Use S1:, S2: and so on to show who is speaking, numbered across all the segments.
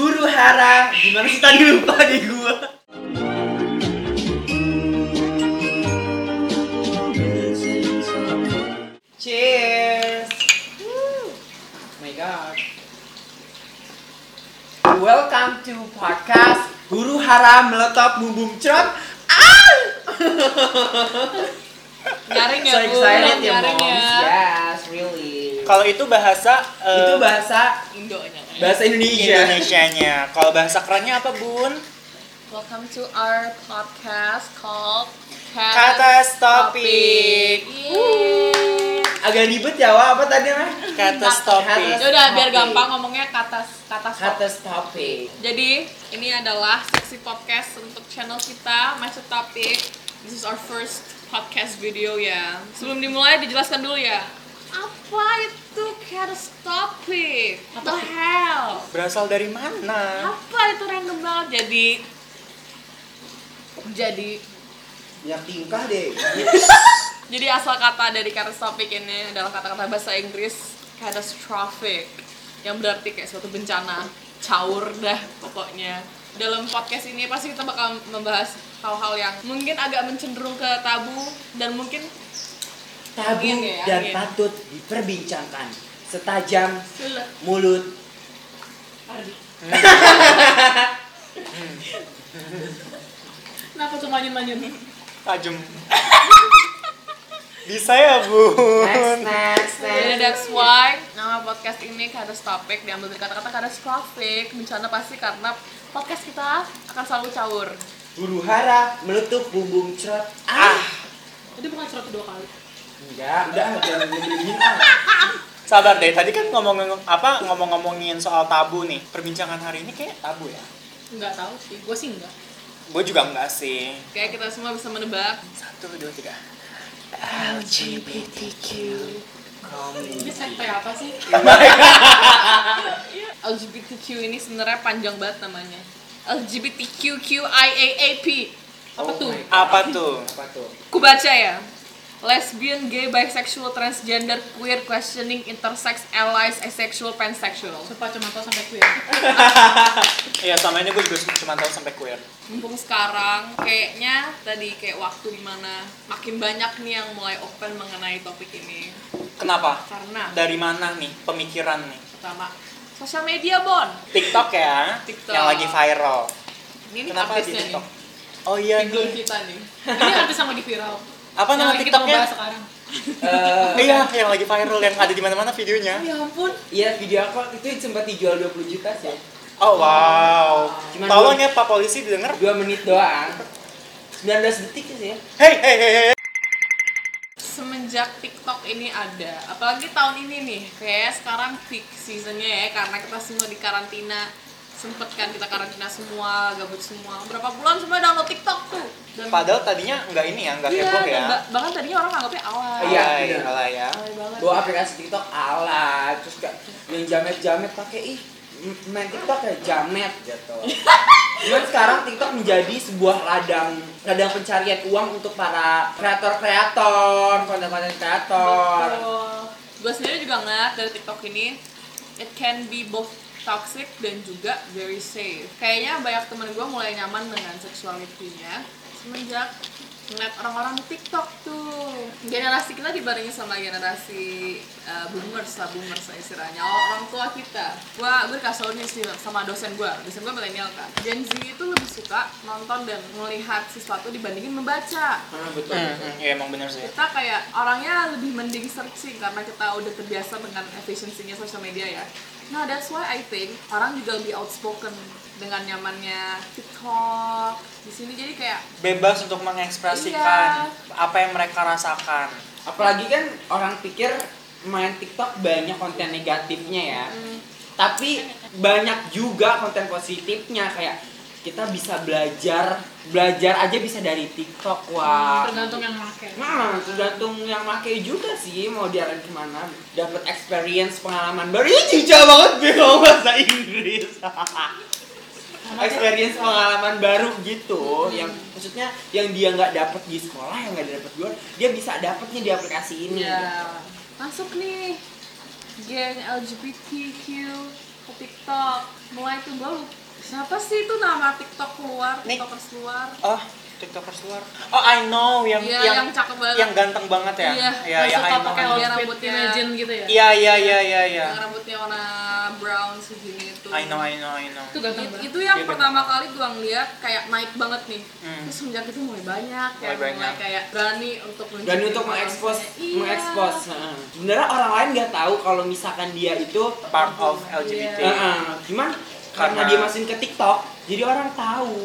S1: sekarang gimana sih tadi lupa di gua cheers Oh my god welcome to podcast huru hara meletop bumbung cerot ah
S2: Nyaring ya,
S1: so
S2: Bu.
S1: excited ya
S2: Nyaring
S1: moms
S2: ya.
S1: yes really
S3: Kalau itu bahasa eh,
S1: itu bahasa
S2: Indonya.
S1: bahasa Indonesia
S3: Indonesianya. Kalau bahasa kerennya apa, Bun?
S2: Welcome to our podcast called
S3: Kata Stopik.
S2: Yeay.
S1: agak ribet ya Wak. apa tadi mah
S3: Kata
S2: Ya
S3: Stopik.
S2: udah biar
S1: Stopik.
S2: gampang ngomongnya kata kata stop.
S1: atas topik
S2: Jadi ini adalah seksi podcast untuk channel kita Masuk Topik. This is our first podcast video ya. Sebelum dimulai dijelaskan dulu ya. Apa itu kata Stopik? What the hell?
S3: Berasal dari mana?
S2: apa itu random banget jadi jadi
S1: ya tingkah deh
S2: jadi asal kata dari catastrophic ini adalah kata-kata bahasa Inggris catastrophic yang berarti kayak suatu bencana caur dah pokoknya dalam podcast ini pasti kita bakal membahas hal-hal yang mungkin agak mencenderung ke tabu dan mungkin
S1: tabu
S2: Angin ya,
S1: dan
S2: angin.
S1: patut diperbincangkan setajam
S2: Sulah.
S1: mulut
S2: kenapa tuh manyun-manyun
S3: Tajem. Bisa ya, Bun?
S1: next next
S2: Jadi
S1: next
S2: that's why nama podcast ini catastrophic diambil dari kata-kata catastrophic bencana pasti karena podcast kita akan selalu caur
S1: huru hara menutup bumbung cerot ah
S2: Itu bukan cerot dua kali.
S1: enggak udah jangan dibeliin ah
S3: Sabar deh, tadi kan ngomong apa ngomong-ngomongin soal tabu nih. Perbincangan hari ini kayak tabu ya.
S2: Enggak tahu sih, gue sih enggak.
S3: Gue juga enggak sih.
S2: Kayak kita semua bisa menebak.
S3: Satu, dua, tiga.
S1: LGBTQ
S2: Ini sekte apa sih? LGBTQ ini sebenarnya panjang banget namanya. LGBTQQIAAP. Apa
S1: Oh
S2: tuh?
S1: my God.
S3: Apa tuh?
S1: apa tuh
S2: Ku baca ya. Lesbian, gay, bisexual, transgender, queer, questioning, intersex, allies, asexual, pansexual.
S4: Sumpah cuma tau sampai queer.
S3: Ya sama ini gue juga cuma tahu sampai queer.
S2: mumpung sekarang kayaknya tadi kayak waktu dimana makin banyak nih yang mulai open mengenai topik ini
S3: Kenapa?
S2: karena
S3: Dari mana nih pemikiran nih?
S2: pertama sosial media bon
S3: TikTok ya,
S2: TikTok.
S3: yang lagi viral.
S2: ini nih
S3: Kenapa di
S2: artisnya nih
S3: TikTok? Oh iya
S4: Idol
S3: nih.
S4: kita nih. Ini hampir sama di viral.
S3: Apa
S4: Yang
S3: nama
S4: lagi kita mau
S3: TikToknya?
S4: bahas sekarang.
S1: Eh,
S3: Iya, yang lagi viral yang ada di mana-mana videonya.
S2: ya ampun
S1: iya video aku itu sempat dijual 20 juta sih
S3: Oh wow.
S1: Cuman
S3: Tolong
S1: dua-
S3: ya Pak polisi didengar.
S1: 2 menit doang 19 detik sih ya
S3: Hey hey hey hey.
S2: semenjak TikTok ini ada apalagi tahun ini nih kayak sekarang peak seasonnya ya karena kita semua di karantina sempet kan kita karantina semua gabut semua berapa bulan semua download TikTok tuh dan
S3: Padahal tadinya nggak ini ya, nggak
S2: iya,
S3: heboh ya.
S2: dan ba- bahkan tadinya orang anggapnya awal
S1: Iya,
S3: Alay,
S1: bener.
S3: alay ya.
S2: Alay banget
S1: gua aplikasi TikTok ala terus kayak yang jamet-jamet pakai ih m- main TikTok kayak jamet gitu. Cuman sekarang TikTok menjadi sebuah ladang ladang pencarian uang untuk para kreator-kreator, konten-konten kreator.
S2: Gue sendiri juga ngeliat dari TikTok ini, it can be both toxic dan juga very safe. Kayaknya banyak temen gue mulai nyaman dengan seksualitinya semenjak ngeliat orang-orang di TikTok tuh. Generasi kita dibarengi sama generasi uh, boomers lah, boomers lah istilahnya, Oh, orang tua kita. Gue gue dikasih tau nih sih sama dosen gue, dosen gue milenial kan. Gen Z itu lebih suka nonton dan melihat sesuatu dibandingin membaca
S1: Karena Ah, betul.
S3: Hmm, hmm, iya emang bener sih.
S2: kita kayak orangnya lebih mending searching karena kita udah terbiasa dengan efisiensinya sosial media ya. Nah, that's why I think orang juga lebih outspoken dengan nyamannya TikTok di sini jadi kayak
S3: Bebas untuk mengekspresikan apa yang mereka rasakan.
S1: Apalagi kan orang pikir main TikTok banyak konten negatifnya ya. Tapi banyak juga konten positifnya kayak kita bisa belajar belajar aja bisa dari TikTok
S3: Ah.
S1: wah.
S4: Tergantung yang pakai.
S1: Nah, tergantung yang pakai juga sih mau diarahin kemana. Dapat experience pengalaman baru. Ini jijik banget gue ngomong bahasa Inggris. experience pengalaman baru gitu yang maksudnya yang dia nggak dapat di sekolah yang nggak dapat di luar dia bisa dapatnya di aplikasi ini gitu.
S2: ya masuk nih geng LGBTQ ke TikTok mulai tuh gue Siapa sih itu nama TikTok keluar,
S3: Nih.
S2: TikTokers keluar?
S3: Oh, TikTokers luar. Oh, I know yang
S2: Iya,
S3: yang
S2: yang cakep banget.
S3: yang ganteng banget ya.
S2: Iya,
S3: iya,
S5: Yang
S3: iya, I
S5: suka
S3: know,
S5: pakai
S3: I know.
S2: Iya,
S5: outfit
S2: rambutnya.
S5: legend gitu ya.
S3: Iya, iya, iya, iya, iya.
S2: Yang rambutnya warna brown segini itu.
S3: I know, I know, I know.
S5: Itu ganteng
S2: It-
S5: banget.
S2: itu yang
S3: Iya,
S2: pertama kali gue ngeliat kayak naik banget nih
S3: Hmm.
S2: terus semenjak itu mulai banyak
S3: Mulai
S2: yang mulai
S3: banyak.
S2: kayak berani untuk menunjukin
S1: dan untuk mengekspos
S2: bahwasanya, iya.
S1: mengekspos heeh. sebenarnya orang lain nggak tahu kalau misalkan dia itu
S3: Part of LGBT.
S2: Iya.
S1: heeh, gimana karena
S3: Karena-
S1: dia masukin ke TikTok jadi orang tahu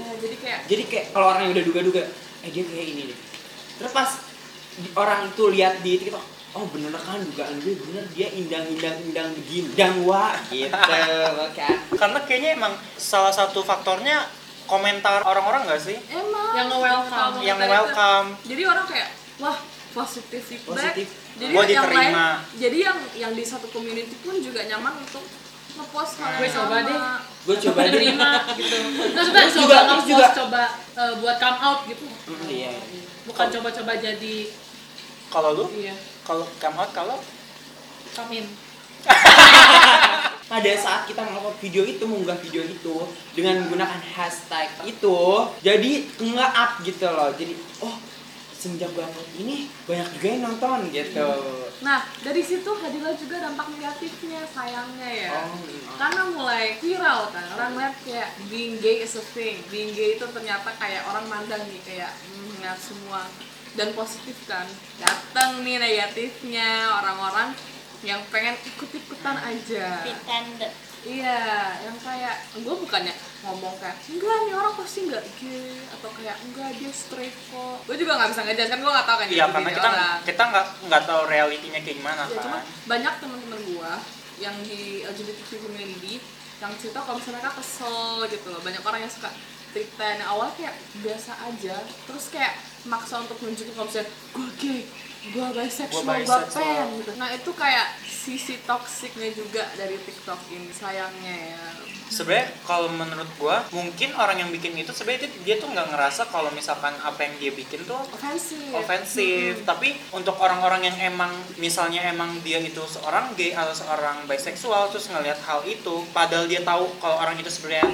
S2: Iya, jadi kayak
S1: jadi kayak kalau orang yang udah duga-duga eh dia kayak ini deh terus pas di- orang itu lihat di TikTok oh bener kan dugaan gue bener dia indang indang indang begindang wa gitu oke
S3: Karena kayaknya emang salah satu faktornya komentar orang-orang nggak sih?
S2: emang
S5: Yang nge-welcome.
S2: kalau
S3: Yang
S2: kita lihat,
S3: welcome.
S2: jadi orang kayak wah positif feedback
S1: Positif.
S2: jadi
S3: Gua
S2: yang
S3: diterima.
S2: lain jadi yang yang di satu community pun juga nyaman untuk ngepost
S3: Hmm.
S2: hal
S5: Gue
S2: yang
S5: coba
S2: sama.
S5: deh.
S1: gue coba deh
S5: Terima gitu. Terus kita
S1: Terus
S5: coba
S1: juga-
S5: nge-post,
S1: juga.
S5: coba eh, buat come out gitu.
S1: Mm, iya
S5: Bukan coba-coba jadi
S3: Kalau lu,
S5: iya,
S3: kalau come out, kalau
S5: come in.
S1: pada saat kita melakukan video itu mengunggah video itu dengan menggunakan hashtag itu jadi nge-up gitu loh jadi oh semenjak gue upload ini banyak juga yang nonton gitu
S2: nah dari situ hadirlah juga dampak negatifnya sayangnya ya
S3: Iya.
S1: oh, mm.
S2: karena mulai viral kan orang lihat kayak being gay is a thing being gay itu ternyata kayak orang mandang nih kayak hmm, ngeliat semua dan positif kan datang nih negatifnya orang-orang yang pengen ikut-ikutan aja iya yang kayak gue bukannya ngomong kayak enggak nih orang pasti nggak gay atau kayak enggak dia straight kok gue juga nggak bisa ngejelasin kan gue nggak tahu kan
S3: iya
S2: dia
S3: karena
S2: gay
S3: kita
S2: orang.
S3: kita nggak nggak tahu realitinya kayak gimana
S2: Ya,
S3: kan.
S2: cuma banyak teman-teman gua yang di LGBTQ community yang cerita kalau misalnya mereka kesel gitu loh. Banyak orang yang suka cerita yang awal kayak biasa aja, terus kayak maksa untuk nunjukin kalau misalnya gua gay, gua bisexual,
S3: Gua
S2: gua,
S3: bisexual."
S2: pan gitu. Nah, itu kayak sisi toksiknya juga dari TikTok ini sayangnya ya.
S3: sebenarnya kalau menurut gua mungkin orang yang bikin itu sebenarnya dia- dia tuh nggak ngerasa kalau misalkan apa yang dia bikin tuh
S2: Offensive.
S1: Iya.
S2: Hmm.
S3: ofensif
S1: Hmm.
S3: tapi untuk orang-orang yang emang misalnya emang dia itu seorang gay atau seorang bisexual terus ngelihat hal itu padahal dia tahu kalau orang itu sebenarnya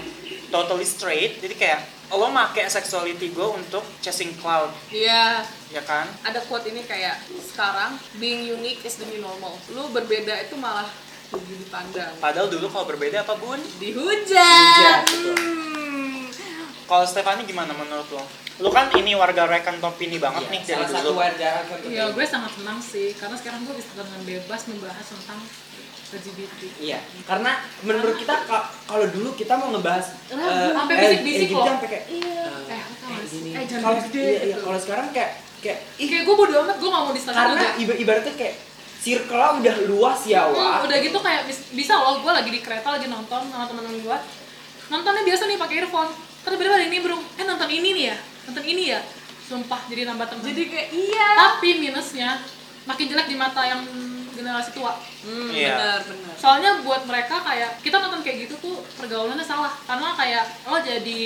S3: totally straight jadi kayak lo make sexuality gue untuk chasing cloud
S2: Iya.
S3: ya kan
S2: ada quote ini kayak sekarang being unique is the new normal. Lu berbeda itu malah rugi dipandang.
S3: padahal dulu kalau berbeda apa bun
S2: dihujat.
S1: betul.
S2: Hmm.
S3: kalau Stefani gimana menurut lo lu kan ini warga rekan topini banget
S1: Iya,
S3: nih dari
S1: salah satu
S3: dulu
S1: warga kan
S5: Iya, gue sangat senang sih karena sekarang gue bisa dengan bebas membahas tentang LGBT.
S1: Iya, karena menurut kita ka- kalau dulu kita mau ngebahas eh,
S5: sampai
S1: eh,
S5: bisik-bisik
S1: LGBT
S5: loh.
S1: sampai kayak
S5: Iya.
S1: eh,
S5: Eh,
S1: kayak gini.
S5: eh jangan
S1: Kalau
S5: gede
S1: iya, iya,
S5: gitu.
S1: kalau sekarang kayak kayak ih,
S5: Kayak gue bodo amat, gue gak mau diselasin
S1: karena iba- ibaratnya kayak circle udah luas ya,
S5: Hmm,
S1: Wak.
S5: udah gitu kayak bis- bisa loh gue lagi di kereta lagi nonton sama teman-teman gue nontonnya biasa nih pakai earphone terus tiba ada yang nimbrung eh nonton ini nih ya nonton ini ya sumpah jadi nambah teman
S2: Jadi kayak iya.
S5: tapi minusnya makin jelek di mata yang generasi tua
S2: Hmm,
S3: Iya.
S2: benar benar.
S5: soalnya buat mereka kayak kita nonton kayak gitu tuh pergaulannya salah karena kayak lo jadi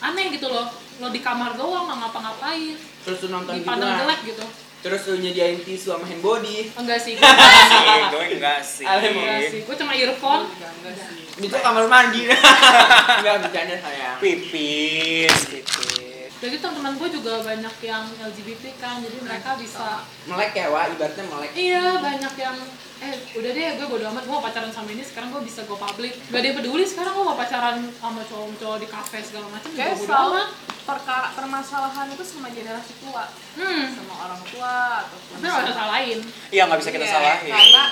S5: aneh gitu loh lo di kamar doang nggak ngapa-ngapain
S1: Terus lu nonton gitu
S5: dipandang jelek gitu
S1: Terus lu nyediain tisu sama handbody.
S5: enggak sih
S3: Sih,
S5: gue
S3: gue enggak sih
S5: enggak sih gue cuma earphone
S2: Enggak sih.
S1: Itu kamar mandi. Enggak bercanda sayang.
S3: pipis gitu. pipis
S5: Jadi teman-teman gue juga banyak yang LGBT kan, jadi mereka bisa
S1: Melek ya, Wak. Ibaratnya melek.
S5: iya banyak yang eh udah deh gue bodo amat gue mau pacaran sama ini sekarang gue bisa go public gak ada yang peduli sekarang gue mau pacaran sama cowok-cowok di kafe segala macam gue
S2: Kayak
S5: bodo
S2: selalu
S5: amat
S2: perkara permasalahan itu sama generasi tua,
S5: hmm
S2: sama orang tua ataupun
S5: tapi gak bisa salahin
S3: Iya nggak bisa kita
S2: Iya,
S3: salahin.
S2: Karena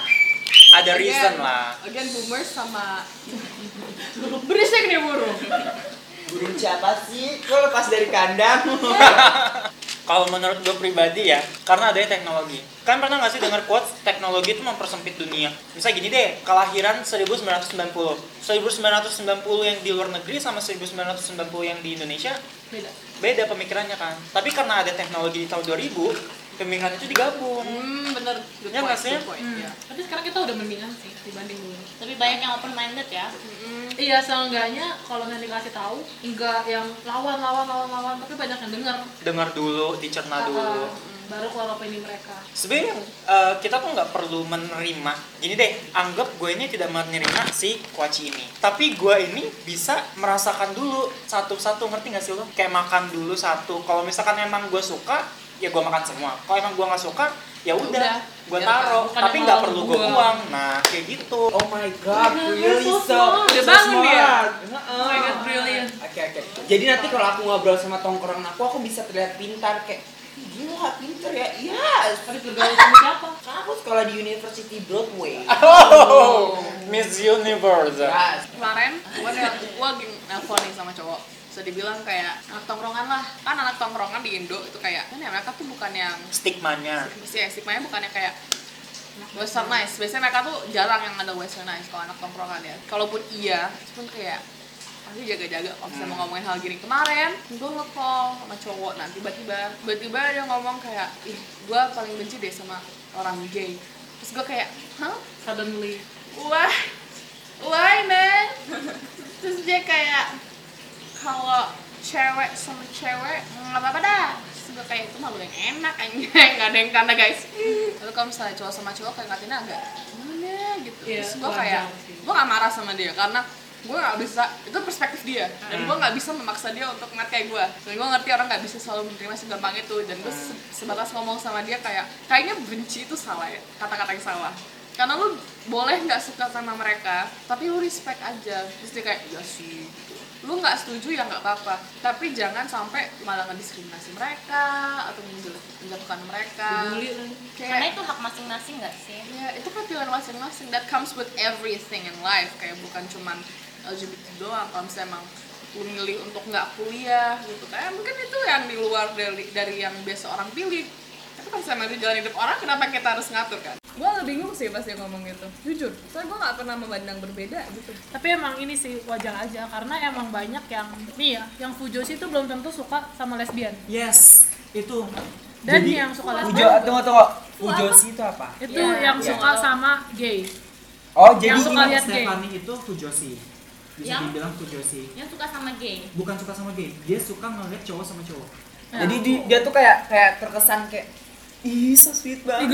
S3: Ada reason
S2: again-
S3: lah.
S2: Again boomers sama
S5: berisik nih burung
S1: Burung siapa sih? Lu lepas dari kandang.
S5: Iya.
S3: Kalau menurut gue pribadi ya, karena adanya teknologi. Kan pernah nggak sih dengar quotes teknologi itu mempersempit dunia. Misal gini deh, kelahiran 1990, 1990 yang di luar negeri sama 1990 yang di Indonesia
S5: beda
S3: beda pemikirannya kan. Tapi karena ada teknologi di tahun 2000, pemikiran itu digabung.
S2: hmm bener good
S3: Iya
S2: point,
S3: nggak sih?
S2: good point,
S5: Hmm.
S2: ya.
S5: tapi sekarang kita udah mendingan sih dibanding dulu
S6: Lebih banyak yang open minded ya.
S2: Mm-mm.
S5: iya seenggaknya kalau nanti dikasih tahu nggak yang lawan lawan lawan lawan tapi banyak yang dengar
S3: Dengar dulu, dicerna dulu.
S5: Ah, ah. baru keluar opini mereka
S7: sebenarnya eh, kita tuh nggak perlu menerima gini deh anggap gue ini tidak menerima si kuaci ini tapi gue ini bisa merasakan dulu satu-satu ngerti nggak sih lo kayak makan dulu satu kalau misalkan emang gue suka ya gue makan semua kalau emang gue nggak suka ya
S2: Udah,
S7: udah gue
S2: biarkan.
S7: taruh
S5: Bukan
S7: tapi
S5: yang
S7: nggak
S5: mau
S7: perlu gue
S5: gua.
S7: buang nah kayak gitu
S1: Oh my god,
S5: Oh my God,
S1: really
S5: so
S1: so,
S5: smart.
S2: Udah bangun dia.
S1: smart.
S5: oh my god
S1: Heeh.
S5: brilliant
S1: Oke oke. Jadi nanti kalau aku ngobrol sama tongkrongan aku, aku bisa terlihat pintar kayak "Ih, gila pintar ya. Iya.
S5: tapi bergaul sama siapa
S1: Karena aku sekolah di University Broadway.
S7: oh Miss Universe
S1: Yes.
S2: kemarin gue gue lagi nelfon nih sama cowok bisa dibilang kayak anak tongkrongan lah kan anak tongkrongan di Indo itu kayak kan ya mereka tuh bukan yang
S7: stigmanya
S2: sih stigmanya bukan yang kayak western nice biasanya mereka tuh jarang yang ada western nice kalau anak tongkrongan ya kalaupun iya itu pun kayak pasti jaga-jaga kalau misalnya mau ngomongin hal gini kemarin gue nge-call sama cowok nah tiba-tiba tiba-tiba dia ngomong kayak ih gue paling benci deh sama orang gay terus gue kayak hah
S5: suddenly
S2: why why man terus dia kayak kalau cewek sama cewek nggak apa-apa dah terus gue kayak itu malu yang enak anjing nggak ada yang tanda guys lalu kalau misalnya cowok sama cowok kayak ngatain agak gimana gitu
S5: Iya,
S2: terus gue
S5: wajar
S2: kayak
S5: sih.
S2: gue gak marah sama dia karena gue gak bisa itu perspektif dia
S5: Hmm.
S2: dan gue gak bisa memaksa dia untuk ngeliat kayak gue dan gue ngerti orang gak bisa selalu menerima segampang itu dan gue se-
S5: Hmm.
S2: sebatas ngomong sama dia kayak kayaknya benci itu salah ya kata-kata yang salah karena lu boleh nggak suka sama mereka tapi lu respect aja terus dia kayak ya sih gitu. lu nggak setuju ya nggak apa-apa tapi jangan sampai malah ngediskriminasi mereka atau menjelek- menjatuhkan mereka
S5: dibully lagi
S8: Karena
S2: kayak
S8: itu hak masing-masing nggak sih?
S2: ya itu kan pilihan masing-masing that comes with everything in life kayak bukan cuman LGBT doang kalau misalnya emang lu milih untuk nggak kuliah gitu kayak mungkin itu yang di luar dari dari yang biasa orang pilih tapi kalau misalnya itu jalan hidup orang kenapa kita harus ngatur kan gue agak bingung sih pas dia ngomong gitu jujur soalnya gue nggak pernah memandang berbeda gitu
S5: tapi emang ini sih wajar aja karena emang banyak yang nih ya yang fujoshi itu belum tentu suka sama lesbian
S7: yes itu
S5: dan yang suka
S1: Ujo,
S5: lesbian
S1: tunggu tunggu. Ujo sih itu apa?
S5: itu
S8: Ya,
S5: yang
S1: ya.
S5: suka sama gay
S1: Oh,
S5: Yang suka lihat gay.
S3: itu fujosi bisa
S8: Yang-
S3: dibilang fujosi
S8: Yang suka sama gay.
S3: bukan suka sama gay dia suka ngeliat cowok sama cowok
S1: Jadi di- dia tuh kayak kayak terkesan kayak Ih, so sweet banget.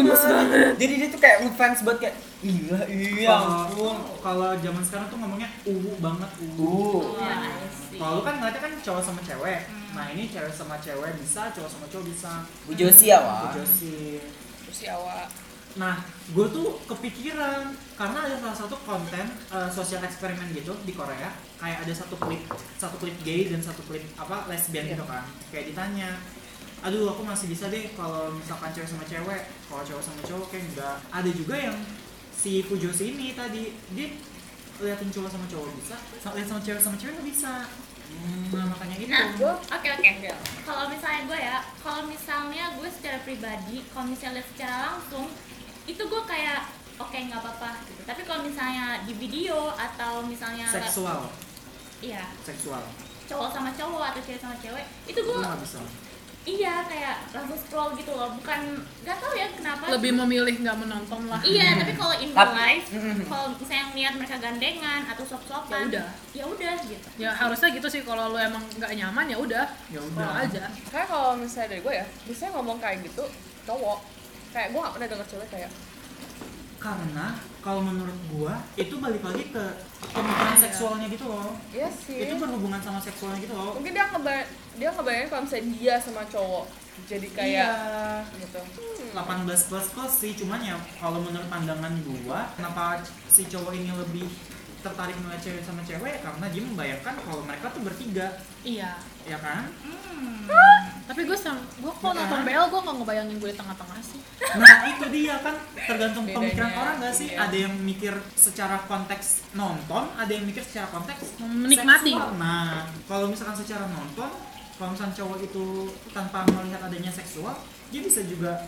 S1: Jadi dia tuh kayak ngefans banget kayak Iya, iya.
S3: Oh. Kalau- kalau zaman sekarang tuh ngomongnya uwu banget uwu
S5: Iya.
S1: Uh.
S8: Ya,
S3: kalau lu kan ngeliatnya kan cowok sama cewek nah ini cewek sama cewek bisa cowok sama cowok bisa
S1: Ujo sih ya, Wak.
S3: fujosi
S2: terus ya awak
S3: Nah, gue tuh kepikiran karena ada salah satu konten eh, sosial eksperimen gitu di Korea, kayak ada satu klip, satu klip gay dan satu klip apa lesbian gitu kan. Kayak ditanya, aduh aku masih bisa deh kalau misalkan cewek sama cewek, kalau cowok sama cowok kayak enggak. Ada juga yang si Fujoshi ini tadi dia liatin cowok sama cowok bisa, sa- liat sama cewek sama cewek nggak bisa. Nah, makanya itu.
S8: Nah, oke oke. Kalau misalnya gue ya, kalau misalnya gue secara pribadi, kalau misalnya secara langsung, itu gue kayak oke nggak apa-apa gitu. Tapi kalau misalnya di video atau misalnya
S3: seksual,
S8: iya
S3: seksual,
S8: cowok sama cowok atau cewek sama cewek, itu
S3: itu
S8: gue
S3: nggak bisa.
S8: iya kayak langsung scroll gitu loh. Bukan nggak tahu ya kenapa.
S5: lebih memilih nggak menonton lah
S8: Iya, tapi kalau in real
S1: Tapi-
S8: life,
S1: Mm.
S8: kalau misalnya ngeliat mereka gandengan atau
S5: Ya
S8: sop-sopan,
S5: udah.
S8: ya udah gitu.
S5: ya harusnya gitu sih kalau lu emang nggak nyaman ya udah
S3: Ya
S5: scroll
S3: udah.
S5: aja
S2: Karena kalau misalnya dari gue ya, biasanya ngomong kayak gitu cowok. Kayak gue gak pernah denger cewek kayak
S3: karena kalau menurut gua itu balik lagi ke pemikiran seksualnya gitu loh
S2: Iya sih.
S3: itu berhubungan sama seksualnya gitu loh
S2: Mungkin dia ngeba dia ngebayangin kalau misalnya dia sama cowok jadi kayak gitu.
S3: 18 Iya. plus plus sih cuman ya kalau menurut pandangan gua kenapa si cowok ini lebih tertarik ngeliat cewek sama cewek karena dia membayangkan kalau mereka tuh bertiga
S5: iya
S3: ya kan
S5: tapi gue sem gue kalau
S3: Ya.
S5: nonton BL gue nggak ngebayangin gue di tengah-tengah sih
S3: nah itu dia kan tergantung
S2: Bedanya,
S3: pemikiran orang gak sih
S2: iya.
S3: ada yang mikir secara konteks nonton ada yang mikir secara konteks
S5: menikmati
S3: seksual. Nah, kalau misalkan secara nonton, kalau misalkan cowok itu tanpa melihat adanya seksual, dia bisa juga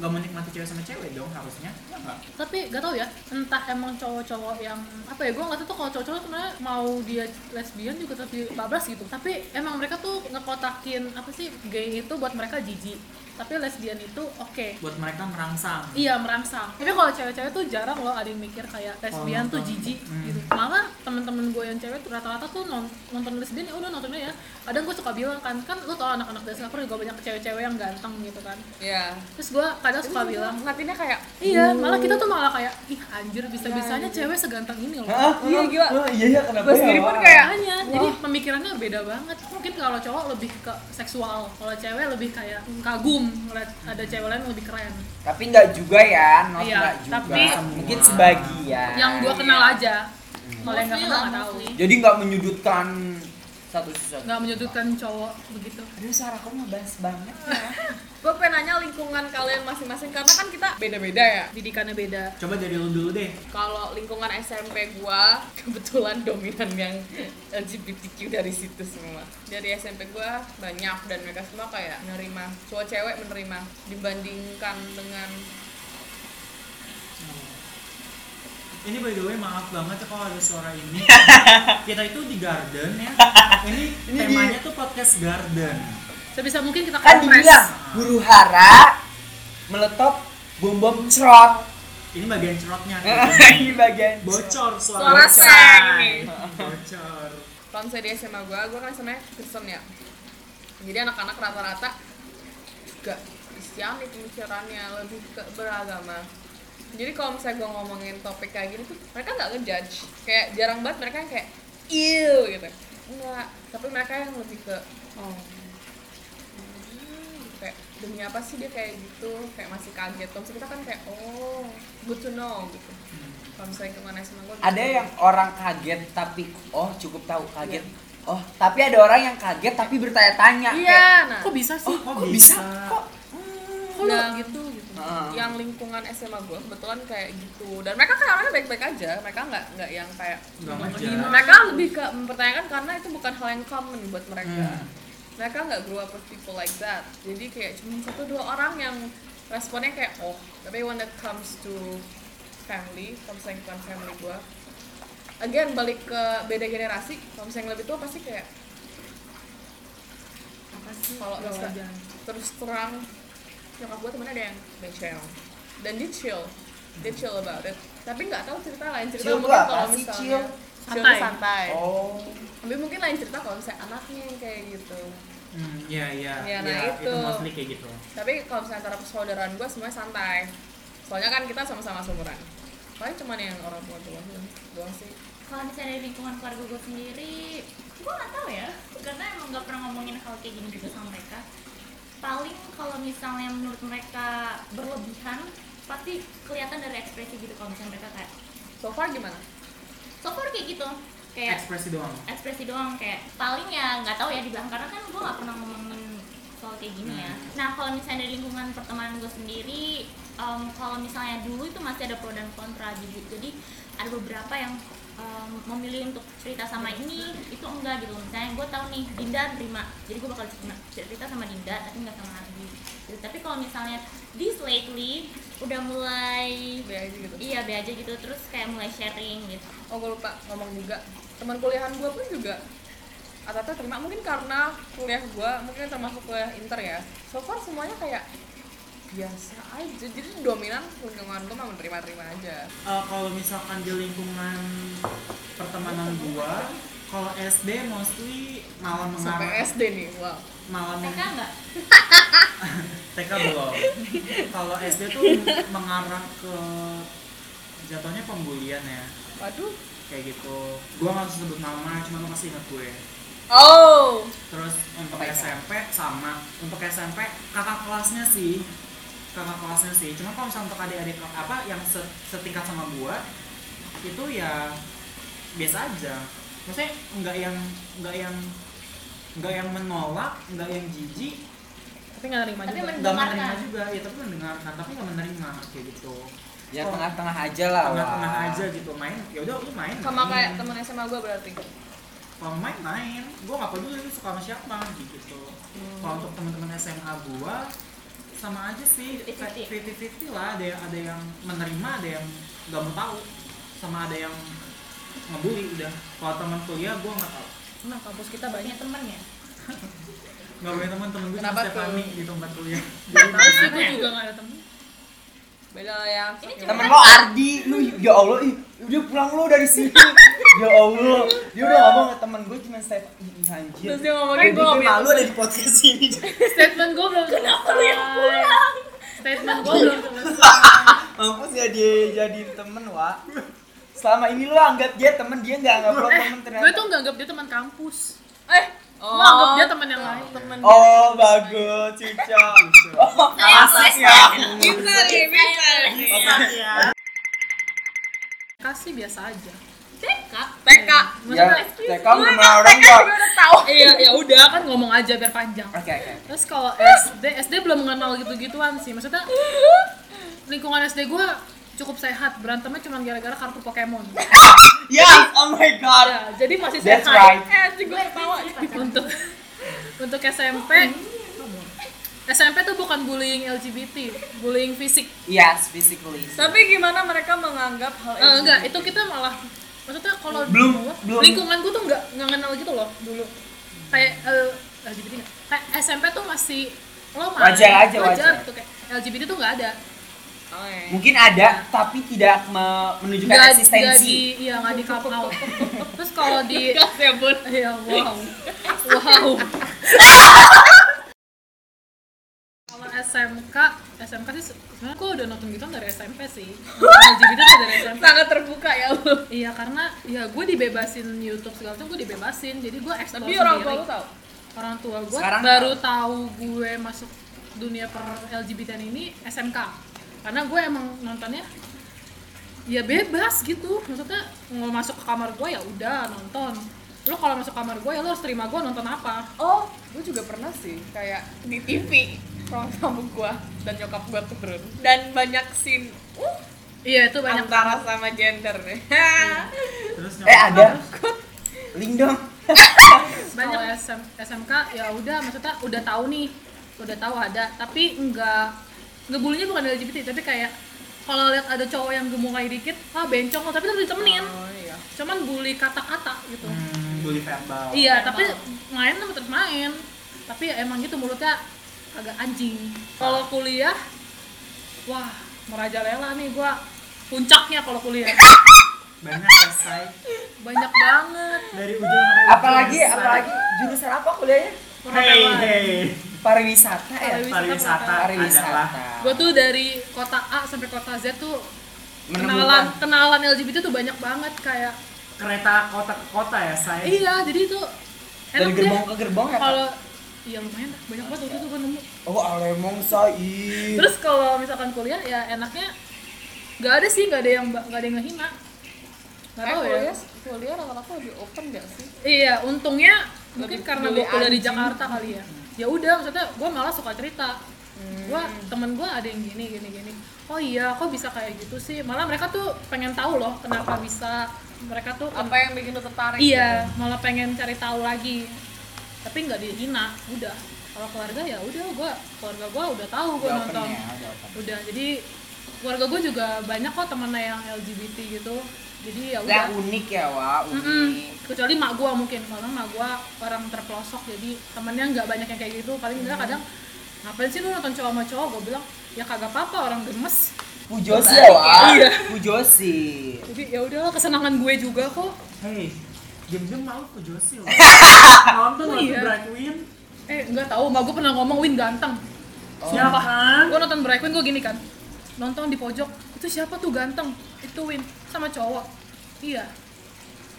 S3: nggak menikmati cewek sama cewek dong harusnya. Ya nggak?
S5: tapi gak tau ya entah emang cowok-cowok yang apa ya gue nggak tahu tuh kalau cowok-cowok sebenarnya mau dia lesbian juga tapi bablas gitu tapi emang mereka tuh ngekotakin apa sih gay itu buat mereka jijik tapi lesbian itu oke
S3: Buat mereka merangsang.
S5: Iya merangsang. Tapi kalau cewek-cewek tuh jarang loh ada yang mikir kayak lesbian
S3: Oh,
S5: tuh
S3: nonton.
S5: jijik
S3: Hmm.
S5: gitu. Malah temen-temen gue yang cewek cewek tuh rata-rata tuh non- nonton lesbian ya udah nonton aja ya kadang gue suka bilang kan kan lu tau anak-anak dari Singapura juga banyak cewek-cewek yang ganteng gitu kan
S2: Iya.
S5: terus gue kadang suka bilang
S2: Ngeliatinnya kayak
S5: iya malah kita tuh malah kayak ih anjir bisa-bisanya cewek seganteng ini loh
S2: Iya, gila.
S1: Oh,
S3: Wah, iya iya kenapa
S2: gue
S3: ya?
S2: sendiri pun
S3: Wah.
S2: kayak
S5: Makanya, jadi pemikirannya beda banget. Mungkin kalau cowok lebih ke seksual, kalau cewek lebih kayak kagum ngeliat ada cewek lain yang lebih keren.
S1: Tapi enggak juga ya, not
S5: Iya,
S1: enggak juga.
S5: tapi-
S1: mungkin sebagian.
S5: Yang gua kenal aja, kalau yang nggak
S8: Mostly
S5: kenal
S8: lah,
S5: nggak tahu.
S8: mostly.
S1: Jadi nggak menyudutkan satu satu.
S5: Nggak menyudutkan cowok begitu.
S1: Aduh, suara kamu ngebas banget.
S2: gue pengen nanya lingkungan kalian masing-masing karena kan kita beda-beda ya.
S5: Didikannya beda.
S3: Coba dari lu dulu deh.
S2: Kalau lingkungan SMP gua kebetulan dominan yang LGBTQ dari situ semua. Dari SMP gua banyak dan mereka semua kayak menerima cowok cewek menerima dibandingkan dengan
S3: Ini by the way maaf banget ya kalau ada suara ini. Kita itu di garden ya. Ini,
S1: Ini di-
S3: temanya tuh podcast garden.
S5: Sebisa mungkin kita
S1: Kan
S5: kompres.
S1: dibilang huru hara meletop bom bom cerot.
S3: Ini bagian cerotnya.
S1: Ini bagian
S3: Bocor
S2: suara
S3: suara. bocor.
S2: seng nih.
S3: Bocor.
S2: Kalau misalnya di SMA gua, gua kan SMA Kristen ya. Jadi anak-anak rata-rata juga Kristiani pemikirannya lebih ke beragama. Jadi kalau misalnya gua ngomongin topik kayak gini tuh mereka nggak ngejudge. Kayak jarang banget mereka yang kayak iu gitu. Enggak, tapi mereka yang lebih ke oh hmm, kayak demi apa sih dia kayak gitu kayak masih kaget terus kita kan kayak oh good to know gitu kalau misalnya kemana SMA gue
S1: ada yang orang kaget tapi oh cukup tahu kaget oh tapi ada orang yang kaget tapi bertanya-tanya kayak,
S2: iya nah
S5: Kok bisa sih?
S1: oh
S3: Kok
S1: kok
S3: bisa?
S1: bisa kok
S5: Kok lu
S2: Nah. Ah.
S5: gitu? gitu.
S1: Heeh.
S2: yang lingkungan SMA gue kebetulan kayak gitu dan mereka kan orangnya baik-baik aja mereka nggak nggak yang kayak
S3: Enggak aja.
S1: Iya.
S2: mereka lebih ke mempertanyakan karena itu bukan hal yang common buat mereka
S3: Hmm.
S2: mereka nggak grow up with people like that jadi kayak cuma satu dua orang yang responnya kayak oh tapi when it comes to family kalau misalnya bukan family gue again balik ke beda generasi kalau misalnya yang lebih tua pasti kayak apa sih kalau
S5: Nggak
S2: misalnya-
S5: wajar.
S2: terus terang nyokap gue temennya ada yang becel dan dia chill dia chill about it tapi nggak tahu cerita lain cerita
S1: Chill
S2: mungkin
S1: tuh apa
S2: kalau
S1: sih,
S2: misalnya
S1: chill?
S2: chill
S5: Santai.
S2: tuh santai
S1: oh
S2: tapi mungkin lain cerita kalau misalnya anaknya yang kayak gitu
S3: Hmm, iya iya.
S2: Ya, nah itu.
S3: mostly kayak gitu.
S2: tapi kalau misalnya antara persaudaraan gue semuanya santai soalnya kan kita sama-sama seumuran paling cuman yang orang tua tua doang sih
S8: kalau misalnya dari lingkungan keluarga gue sendiri gue nggak tahu ya karena emang nggak pernah ngomongin hal kayak gini juga sama mereka paling kalau misalnya menurut mereka berlebihan pasti kelihatan dari ekspresi gitu kalau misalnya mereka kayak
S2: so far gimana
S8: so far kayak gitu kayak
S3: Ekspresi doang.
S8: ekspresi doang kayak paling ya nggak tahu ya di belakang karena kan gue nggak pernah ngomongin soal kayak gini ya
S3: Hmm.
S8: nah kalau misalnya dari lingkungan pertemanan gue sendiri em, kalau misalnya dulu itu masih ada pro dan kontra gitu jadi ada beberapa yang em, memilih untuk cerita sama ini itu enggak gitu misalnya gue tahu nih Dinda terima jadi gue bakal cerita, cerita sama Dinda tapi nggak sama Ardi Gitu. tapi kalau misalnya this lately udah mulai
S2: Be aja gitu
S8: iya be aja gitu terus kayak mulai sharing gitu
S2: oh gue lupa ngomong juga teman kuliahan gue pun juga Atata terima mungkin karena kuliah gue mungkin termasuk kuliah inter ya so far semuanya kayak biasa aja jadi dominan lingkungan gue mah menerima terima aja
S3: Eh, kalau misalkan di lingkungan pertemanan gua, kalau SD mostly malah
S2: sampai
S3: mengarah
S2: SD nih wow
S3: malah meng-
S8: mereka enggak
S3: TK belum. Kalau SD tuh mengarah ke jatuhnya pembulian ya,
S2: waduh
S3: kayak gitu. Gua nggak usah sebut nama, cuma lo pasti ingat gue.
S2: oh
S3: Terus untuk
S1: Kebaikan.
S3: SMP sama, untuk SMP kakak kelasnya sih, kakak kelasnya sih. Cuma kalau misalnya untuk adik-adik ke- apa yang se- setingkat sama gua itu ya biasa aja. Maksudnya nggak yang nggak yang nggak yang menolak, nggak yang jijik,
S5: Tapi nggak nerima
S8: Tapi
S5: juga.
S8: men-
S3: nggak menerima
S8: Mendengarkan.
S3: juga ya tapi mendengarkan tapi nggak menerima kayak gitu
S1: ya
S3: Oh.
S1: tengah-tengah aja lah
S3: tengah-tengah
S1: Wak.
S3: aja gitu main ya udah lu main
S2: sama
S3: main.
S2: kayak teman SMA gue berarti
S3: kalau main main gua nggak peduli lu suka sama siapa gitu kalau untuk teman-teman SMA gua sama aja sih
S8: Fifty-fifty.
S3: fifty fifty lah ada yang ada yang menerima ada yang nggak mau tahu sama ada yang ngebully udah kalau teman kuliah gua nggak tahu
S5: Nah, kampus kita
S8: punya
S5: banyak.
S8: temen ya
S3: nggak punya teman-teman gue cuma
S2: Kenapa tuh?
S3: Stefani di tempat kuliah
S5: Tahu sih, gue juga nggak ada temen.
S2: beda lah ya
S8: Ini
S2: Oke.
S8: cuma-
S1: temen lo Ardi lu ya Allah ih udah pulang lo dari sini ya Allah dia udah ngomong ke temen gue cuma step "Ih, anjir
S5: Terus dia ngomongin
S1: gue
S5: gue
S1: bikin
S5: bilang,
S1: malu ada di podcast ini
S5: Statement gue belum selesai. Statement gue belum selesai.
S1: mampus ya dia jadi temen wa selama ini lu anggap dia temen dia nggak anggap lu
S5: Eh,
S1: temen
S5: gue tuh
S1: ternyata
S5: nggak anggap dia teman kampus.
S2: Eh,
S5: Gue anggap dia teman yang lain.
S2: temen.
S1: oh bagus cuca oh,
S8: Alasan ya.
S2: Bisa nih, bisa nih.
S5: Kasih biasa aja. Iya.
S8: TK.
S2: TK.
S1: ya TK
S8: Gue
S1: sama
S8: emang
S1: orang
S8: TK
S1: tua
S8: juga udah tahu.
S5: Iya, ya udah kan ngomong aja biar panjang.
S1: oke oke
S5: Terus kalau SD, SD belum mengenal gitu-gituan sih. Maksudnya lingkungan SD gue cukup sehat. Berantemnya cuma gara-gara kartu Pokemon.
S1: yes oh my god
S5: Ya, jadi masih sehat.
S1: That's right.
S5: Eh, sih gue ketawa. Untuk untuk SMP SMP tuh bukan bullying LGBT, bullying fisik.
S1: yes physically
S2: Tapi gimana mereka menganggap hal
S5: Eh,
S2: itu?
S5: enggak, itu kita malah maksudnya kalau di
S1: Belum-
S5: bawah,
S1: belum.
S5: lingkungan gue tuh enggak enggak kenal gitu loh dulu. Kayak eh, LGBT enggak. Kayak SMP tuh masih lo main,
S1: Wajar aja, wajar.
S5: gitu kayak LGBT tuh enggak ada.
S1: mungkin ada tapi tidak me- menunjukkan
S5: Nggak- nggak di
S1: eksistensi
S5: iya enggak di cup out. Terus kalau di
S2: Gas ya bun.
S5: Iya, wow. Wow. Kalau SMK, SMK sih se- sebenarnya gue udah nonton gitu dari SMP sih. Nonton LGBT tuh dari SMP.
S2: Sangat terbuka ya lu.
S5: Iya, karena ya gue dibebasin YouTube segala macam gue dibebasin. Jadi gue explore
S2: Tapi orang tua
S5: sendiri.
S2: lu tahu.
S5: Orang tua gue
S1: Sekarang
S5: baru tahu gue masuk dunia per LGBT ini SMK. Karena gue emang nontonnya ya bebas gitu maksudnya mau masuk ke kamar gue ya udah nonton lo kalau masuk kamar gue ya lo harus terima gue nonton apa
S2: Oh, gue juga pernah sih kayak di TV ruang tamu gue dan nyokap gue turun dan banyak scene uh,
S5: Iya itu banyak Iya.
S2: antara sama gender nih.
S9: Terus
S1: eh
S9: nyokap
S1: ada link dong
S5: banyak Kalau SM, SMK ya udah maksudnya udah tahu nih udah tahu ada tapi enggak ngebulinya bukan LGBT tapi kayak kalau lihat ada cowok yang gemuk kayak dikit ah bencong lo tapi tetap ditemenin
S2: Oh iya.
S5: cuman bully kata-kata gitu
S9: hmm, bully verbal.
S5: iya tapi main tetap tetap main tapi ya emang gitu mulutnya agak anjing kalau kuliah wah merajalela nih gua puncaknya kalau kuliah
S9: Banyak selesai
S5: banyak banget
S9: dari ujung sampai ujung.
S1: apalagi apalagi jurusan apa kuliahnya
S9: Hey
S5: perhotelan.
S9: hey.
S1: pariwisata ya
S5: Pariwisata,
S9: Pariwisata adalah
S1: pariwisata
S5: gue tuh dari kota A sampai kota Z tuh
S1: Menemukan.
S5: kenalan kenalan LGBT tuh banyak banget kayak
S9: kereta kota ke kota ya saya.
S5: iya jadi itu
S1: dari
S5: enak deh
S1: gerbong ke gerbong ya Kak?
S5: kalau iya lumayan lah, banyak banget waktu itu gue nemu
S9: Iya.
S1: oh alemong sai
S5: terus kalau misalkan kuliah ya enaknya nggak ada sih nggak ada yang ba- nggak ada yang ngehina
S1: Eh,
S5: nggak
S2: Kayak
S5: tahu ya
S2: kuliah, kuliah rata-rata lebih open gak sih?
S5: iya untungnya mungkin
S2: Lebih
S5: karena
S2: peduli
S5: gue kuliah di
S2: anjing.
S5: Jakarta kali ya ya udah maksudnya gue malah suka cerita
S2: Hmm.
S5: gue temen gue ada yang gini gini gini oh iya kok bisa kayak gitu sih malah mereka tuh pengen tahu loh kenapa bisa mereka tuh
S2: Apa yang gitu? bikin lu tertarik?
S5: iya malah pengen cari tahu lagi tapi nggak dihina udah kalau keluarga ya udah gua keluarga gua udah tahu gua
S1: Jawabannya,
S5: nonton
S2: ya,
S1: jawabannya.
S5: udah jadi keluarga gua juga banyak kok temennya yang LGBT gitu jadi ya udah
S1: Nah, unik ya, Wak. Unik.
S5: Mm-mm. kecuali mak gua mungkin karena mak gua orang terpelosok jadi temennya nggak banyak yang kayak gitu paling nggak kadang ngapain sih lu nonton cowok sama cowok gua bilang ya kagak apa-apa orang gemes
S1: Pujosi
S5: Iya.
S1: ya, Wak. Pujosi.
S5: jadi ya udahlah kesenangan gue juga kok
S9: Hey, diam-diam mau ke Josil. Nonton
S5: Oh,
S9: waktu
S5: iya.
S9: Bright Win.
S5: eh nggak tahu mak gua pernah ngomong Win ganteng
S2: Oh.
S9: Siapa kan?
S5: gue nonton Breakwin gue gini kan nonton di pojok itu siapa tuh ganteng itu Win sama cowok iya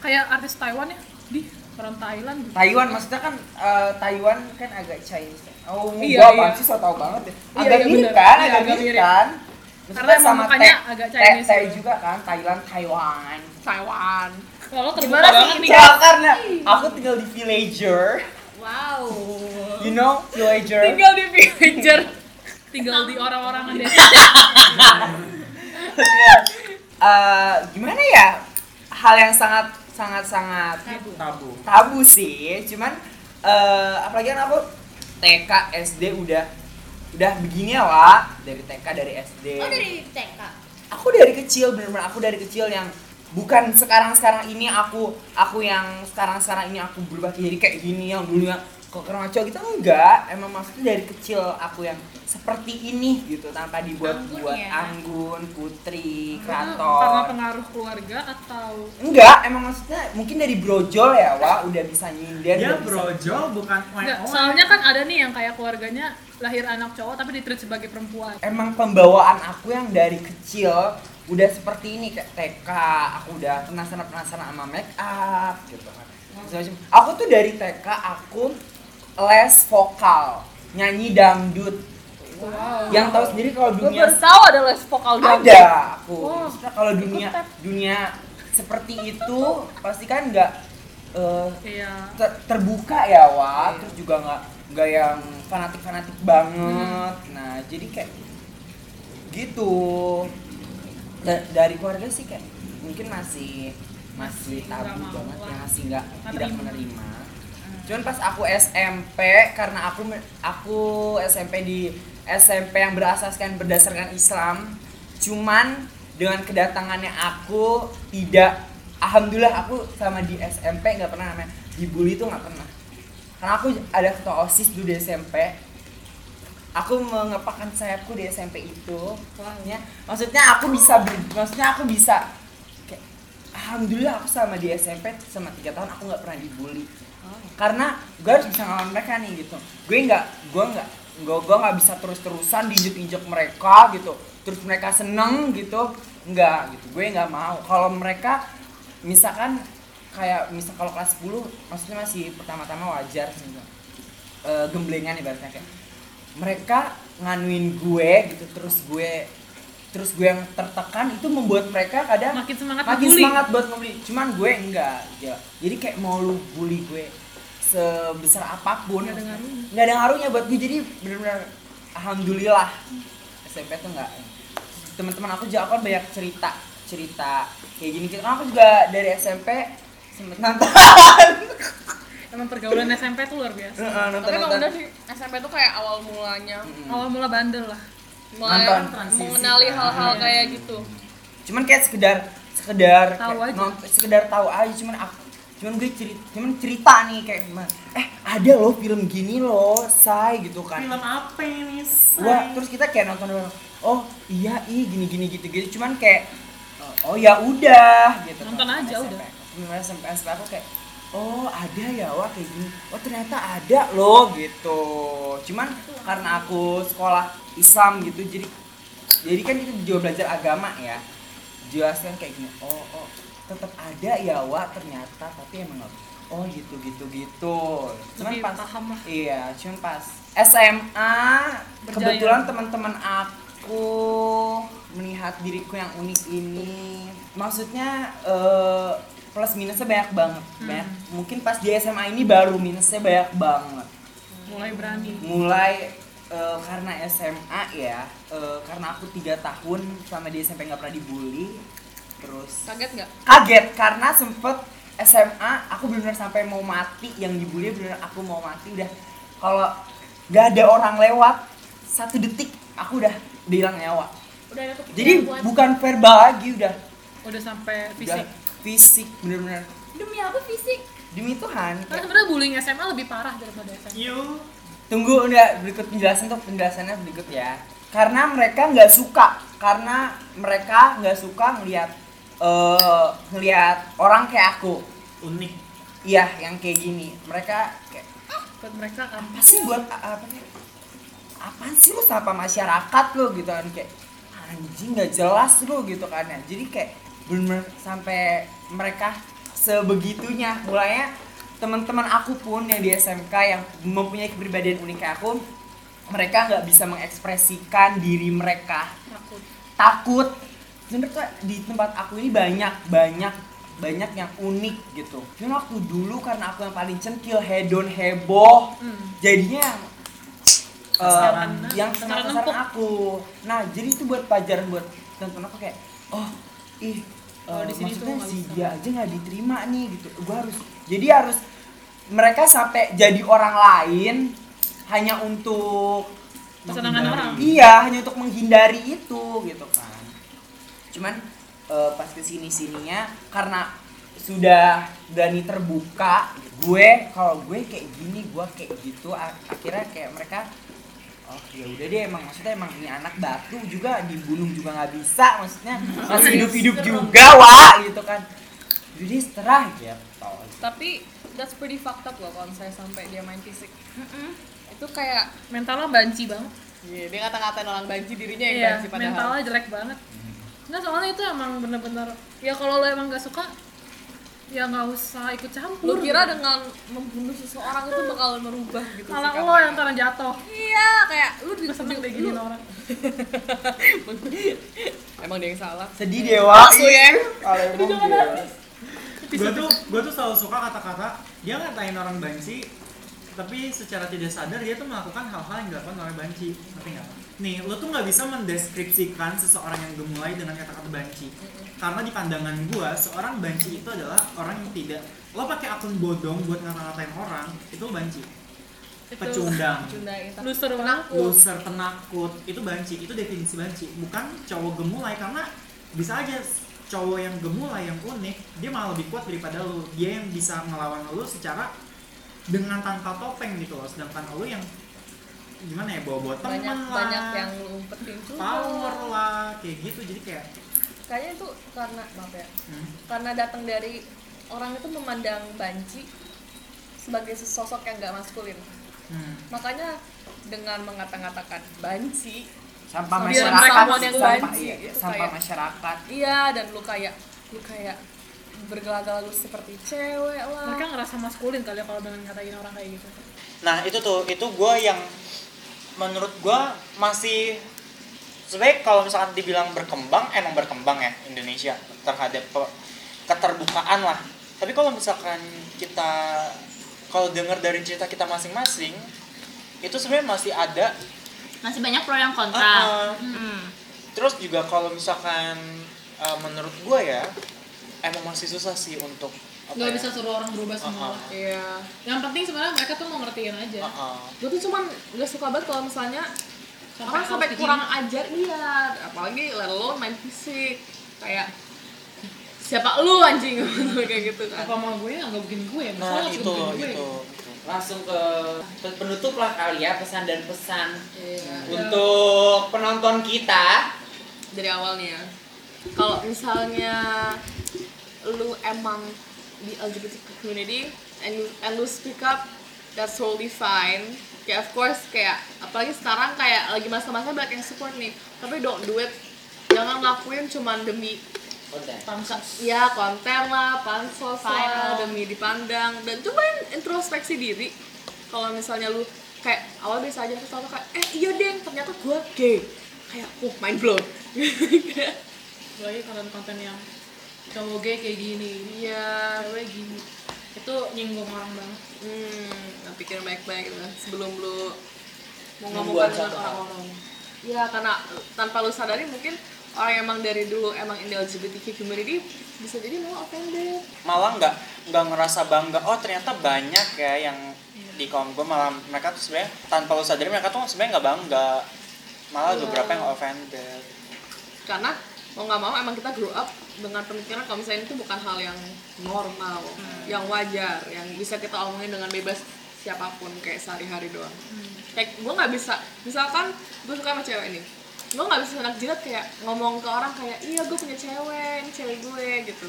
S5: kayak artis Taiwan ya di orang Thailand gitu.
S1: Taiwan maksudnya kan eh, Taiwan kan agak Chinese. kan? Oh,
S5: Iya,
S1: gua
S5: iya.
S1: apaan sih so tau banget deh.
S5: Iya,
S1: Agak
S5: iya,
S1: mirip
S5: bener.
S1: kan,
S5: Iya,
S1: agak
S5: agak
S1: mirip
S5: mirip.
S1: kan.
S5: Karena emang mukanya
S1: Teh-
S5: agak
S1: Teh-
S5: Chinese
S1: Teh
S5: gitu.
S1: juga kan, Thailand, Taiwan.
S2: Taiwan.
S5: kalau terbuka
S8: Gimana sih?
S5: banget nih
S1: Ya, karena aku tinggal di villager.
S8: Wow.
S1: You know, villager.
S5: tinggal di villager tinggal di orang-orang desa
S1: Eh, gimana ya? Hal yang sangat sangat sangat
S9: Tabu.
S1: tabu sih cuman eh, apalagi kan aku TK SD udah udah begini ya Wak dari TK dari SD
S8: Oh dari TK.
S1: aku dari kecil bener-bener aku dari kecil yang bukan sekarang sekarang ini aku aku yang sekarang sekarang ini aku berubah jadi kayak gini yang dulunya kok maco gitu enggak emang maksudnya dari kecil aku yang seperti ini gitu tanpa dibuat-buat
S8: Anggun ya? Ah,
S1: anggun putri
S5: Karena- Karena
S1: kraton
S5: pengaruh keluarga atau
S1: enggak emang maksudnya mungkin dari brojol ya wa udah bisa nyindir
S9: Dia
S1: udah bisa-
S9: brojol bukan oe
S5: Nggak, soalnya kan ada nih yang kayak keluarganya lahir anak cowok tapi ditreat sebagai perempuan.
S1: emang pembawaan aku yang dari kecil udah seperti ini kayak TK aku udah penasaran penasaran sama make up gitu kan Macam-macam. aku tuh dari TK aku les vokal nyanyi dangdut yang tahu sendiri kalau
S5: Gue
S1: dunia
S5: baru tahu ada les vokal dangdut.
S1: ada aku
S5: Wah.
S1: Maksudnya kalau dunia
S5: Ikut, Tep.
S1: dunia seperti itu pasti kan nggak eh,
S5: Iya.
S1: ter- terbuka ya Wak terus juga nggak nggak yang fanatik fanatik
S5: Hmm.
S1: banget nah jadi kayak gitu Da- dari keluarga sih kayak mungkin masih masih
S5: Masih nggak
S1: tabu
S5: mau
S1: banget ya
S5: lah. Hmm.
S1: masih nggak
S5: Nggak
S1: tidak
S5: terima.
S1: menerima cuman pas aku SMP karena aku me- aku SMP di SMP yang berasaskan berdasarkan Islam cuman dengan kedatangannya aku tidak alhamdulillah aku sama di SMP nggak pernah namanya dibully tuh nggak pernah karena aku ada ketua osis dulu di SMP aku mengepakkan sayapku di SMP itu soalnya maksudnya aku bisa ber- maksudnya aku bisa kayak, alhamdulillah aku sama di SMP sama tiga tahun aku nggak pernah dibully karena gue harus bisa ngelawan mereka nih gitu gue nggak gue nggak gue gue nggak bisa terus terusan diinjek injek mereka gitu terus mereka seneng gitu nggak gitu gue nggak mau kalau mereka misalkan kayak misal kalau kelas 10 maksudnya masih pertama-tama wajar sih gitu. Eh, gemblengan ibaratnya kayak mereka nganuin gue gitu terus gue terus gue yang tertekan itu membuat mereka kadang
S5: Makin semangat
S1: makin
S5: ngebully.
S1: semangat buat ngebully cuman gue enggak ya. jadi kayak mau lu bully gue sebesar apapun
S5: Nggak ada ngaruhnya.
S1: nggak ada ngaruhnya buat gue jadi benar-benar alhamdulillah SMP tuh nggak teman-teman aku juga aku kan banyak cerita cerita kayak gini gitu Karena aku juga dari SMP sempet nonton
S5: Emang pergaulan SMP tuh luar biasa.
S1: nonton
S2: Tapi emang
S1: nonton
S2: udah sih SMP tuh kayak awal mulanya
S5: Awal mula bandel lah.
S2: mulai
S1: Nonton.
S2: mengenali hal-hal kayak gitu.
S1: cuman kayak sekedar sekedar
S5: Tahu
S1: kayak
S5: aja.
S1: nont- sekedar tahu aja cuman aku cuman gue cerita cuman cerita nih kayak gimana eh ada loh film gini loh say gitu kan
S9: Film apa ini?
S1: wah terus kita kayak nonton bareng, oh iya i gini gini gitu gitu cuman kayak oh ya udah gitu
S5: Nonton
S1: Kalau
S5: aja
S1: SMP.
S5: udah.
S1: sebenarnya SMP SMP aku kayak oh ada ya wah kayak gini oh ternyata ada loh gitu cuman karena aku sekolah Islam gitu jadi jadi kan kita juga belajar agama ya jelaskan kayak gini oh oh tetap ada ya wah ternyata tapi emang nggak- oh gitu gitu gitu cuman
S5: Lebih
S1: pas
S5: paham lah.
S1: Iya, cuman pas SMA
S5: Berjaya.
S1: kebetulan teman-teman aku melihat diriku yang unik ini. Maksudnya eh, plus minusnya banyak banget.
S5: Hmm.
S1: Banyak. Mungkin pas di SMA ini baru minusnya banyak banget.
S5: Mulai berani.
S1: Mulai eh, karena SMA ya, eh, karena aku tiga tahun selama di SMP nggak pernah dibully. Terus
S2: Kaget nggak?
S1: kaget karena sempet SMA aku benar-benar sampai mau mati yang dibully benar aku mau mati udah kalau nggak ada orang lewat satu detik aku udah udah hilang nyawa
S8: udah ada kepikiran
S1: jadi
S8: buat
S1: bukan verbal lagi udah
S5: Udah sampai
S1: udah
S5: fisik.
S1: fisik benar-benar
S8: demi apa fisik
S1: demi Tuhan
S5: Karena sebenarnya bullying SMA lebih parah daripada SMA.
S9: You
S1: tunggu udah berikut penjelasan tuh penjelasannya berikut ya karena mereka nggak suka karena mereka nggak suka ngelihat eh ngelihat orang kayak aku
S9: unik.
S1: iya yang kayak gini mereka kayak
S5: Buat mereka apa?
S1: apa sih buat a- apa nih apaan sih lu sama masyarakat lu gitu kan kayak anjing nggak jelas lu gitu kan ya jadi kayak bener sampai mereka sebegitunya mulanya teman-teman aku pun yang di SMK yang mempunyai kepribadian unik kayak aku mereka nggak bisa mengekspresikan diri mereka
S5: Takut.
S1: takut sebenarnya tuh di tempat aku ini banyak banyak banyak yang unik gitu cuma waktu dulu karena aku yang paling cengkil hedon heboh
S5: Hmm.
S1: jadinya eh,
S9: Sasaran.
S5: Nah,
S1: yang
S5: Sasaran
S1: sasaran
S5: empuk.
S1: aku nah jadi itu buat pelajaran buat teman-teman aku kayak oh ih
S5: Kalau
S1: eh,
S5: di sini tuh
S1: maksudnya
S5: nggak
S1: si
S5: bisa.
S1: dia aja nggak diterima nih gitu gue harus jadi harus mereka sampai jadi orang lain hanya untuk
S10: Nah,
S5: Kesenangan
S9: Menghindari.
S5: orang.
S1: Iya, hanya untuk menghindari itu gitu kan. Cuman eh, pas kesini sininya karena su-
S10: sudah berani terbuka gue kalau gue kayak gini gue kayak gitu a- akhirnya kayak mereka oh ya udah deh emang maksudnya emang ini anak batu juga dibunuh juga nggak bisa maksudnya masih hidup hidup juga wah gitu kan jadi seterah gitu
S2: Tapi that's pretty fucked up loh kalau misalnya sampai dia main fisik.
S8: Mm-mm.
S2: Itu kayak
S5: mentalnya banci banget
S2: Iya, dia ngata-ngatain orang banci dirinya yang
S5: iya
S2: banci padahal.
S5: mentalnya jelek banget nggak soalnya itu emang bener-bener ya kalau lo emang gak suka ya nggak usah
S2: Lu
S5: ikut campur
S2: kira dengan membunuh seseorang itu bakal merubah gitu
S5: malah
S2: sikapnya?
S5: lo yang ntar jatuh
S2: Iya, kayak lu di
S5: gue seneng deh gini orang
S2: Emang dia yang salah.
S10: sedih dewa
S2: Asu ya.
S10: kalau emang dia.
S11: gue tuh gue tuh selalu suka kata-kata dia ngatain orang banci tapi secara tidak sadar dia tuh melakukan hal-hal yang dilakukan oleh banci ngerti nggak nih lo tuh nggak bisa mendeskripsikan seseorang yang gemulai dengan kata-kata banci karena di pandangan gue seorang banci itu adalah orang yang tidak lo pakai akun bodong buat ngata-ngatain orang itu banci pecundang
S2: Cunda itu.
S5: loser banget
S11: loser penakut itu banci itu definisi banci bukan cowok gemulai karena bisa aja cowok yang gemulai yang unik dia malah lebih kuat daripada lu dia yang bisa ngelawan lu secara dengan tanpa topeng gitu loh sedangkan lu yang gimana ya bawa-bawa temen
S2: Banyak
S11: lah
S2: banyak yang ngumpetin juga.
S11: power lah kayak gitu jadi kayak
S2: Kayaknya itu karena maaf ya.
S11: hmm,
S2: Karena datang dari orang itu memandang banci sebagai sesosok yang gak maskulin.
S11: hmm.
S2: Makanya dengan mengata-ngatakan banci
S10: sampah
S2: Biar
S10: masyarakat
S2: someone yang
S10: sampah,
S2: banci,
S10: iya,
S2: itu
S10: sampah
S2: kayak-
S10: masyarakat
S2: Iya, dan lu kayak lu kayak bergelagal seperti cewek lah.
S5: mereka ngerasa maskulin kali ya kalau dengan ngatain orang kayak gitu
S3: Nah itu tuh, itu gue yang menurut gue masih sebaik kalau misalkan dibilang berkembang, emang berkembang ya Indonesia terhadap pe- keterbukaan lah. Tapi kalau misalkan kita kalau dengar dari cerita kita masing-masing, itu sebenarnya masih ada
S8: Masih banyak pro yang
S3: Uh-uh.
S8: kontra. Mm-mm.
S3: terus juga kalau misalkan eh, menurut gue ya emang masih susah sih untuk apa
S5: nggak
S3: ya?
S5: bisa suruh orang berubah
S3: Uh-uh.
S5: semua lah.
S2: Iya.
S5: yang penting sebenarnya mereka tuh mau ngertiin aja
S3: Uh-uh.
S2: Gue tuh cuman gak suka banget kalau misalnya orang sampai gitu.
S5: harus
S2: kurang ajar iya, apalagi let alone main fisik. Kayak siapa lu anjing kayak gitu
S5: begini.
S2: kan.
S5: apa mau gue ya nggak bikin gue Masa
S3: nah
S5: lo harus
S3: itu
S5: bikin gue?
S3: itu
S1: Langsung ke pe- penutup lah kali ya pesan dan pesan
S2: Iya.
S1: untuk penonton kita.
S2: Dari awal nih ya. Kalau misalnya lu emang di LGBT community and you, and lu speak up, that's totally fine. Kayak of course kayak apalagi sekarang kayak lagi masa-masa banyak yang support nih. Tapi don't do it. Jangan lakuin cuman demi
S1: Konten.
S2: pansos ya konten lah pansos lah demi dipandang dan cobain introspeksi diri kalau misalnya lu kayak awal biasa aja terus tau kayak eh iya deng ternyata gua gay kayak uh mind blown
S5: lagi konten-konten yang cowok gay kayak gini
S2: iya
S5: cewek gini itu nyinggung orang banget
S2: hmm nah, pikir baik-baik lah sebelum lu mau ngomong
S1: Membuat satu
S2: dengan
S1: hal.
S2: orang-orang ya karena tanpa lu sadari mungkin orang yang emang dari dulu emang in the LGBTQ community bisa jadi mau offended
S3: malah nggak nggak ngerasa bangga oh ternyata banyak ya yang di kaum gue malah mereka tuh sebenarnya tanpa lo sadari mereka tuh sebenarnya nggak bangga malah beberapa yang offended
S2: karena mau nggak mau emang kita grow up dengan pemikiran kalau misalnya itu bukan hal yang normal,
S8: Hmm.
S2: yang wajar, yang bisa kita omongin dengan bebas siapapun kayak sehari-hari doang.
S8: Hmm.
S2: Kayak gue nggak bisa, misalkan gue suka sama cewek ini, gue nggak bisa anak jilat kayak ngomong ke orang kayak iya gue punya cewek, ini cewek gue gitu.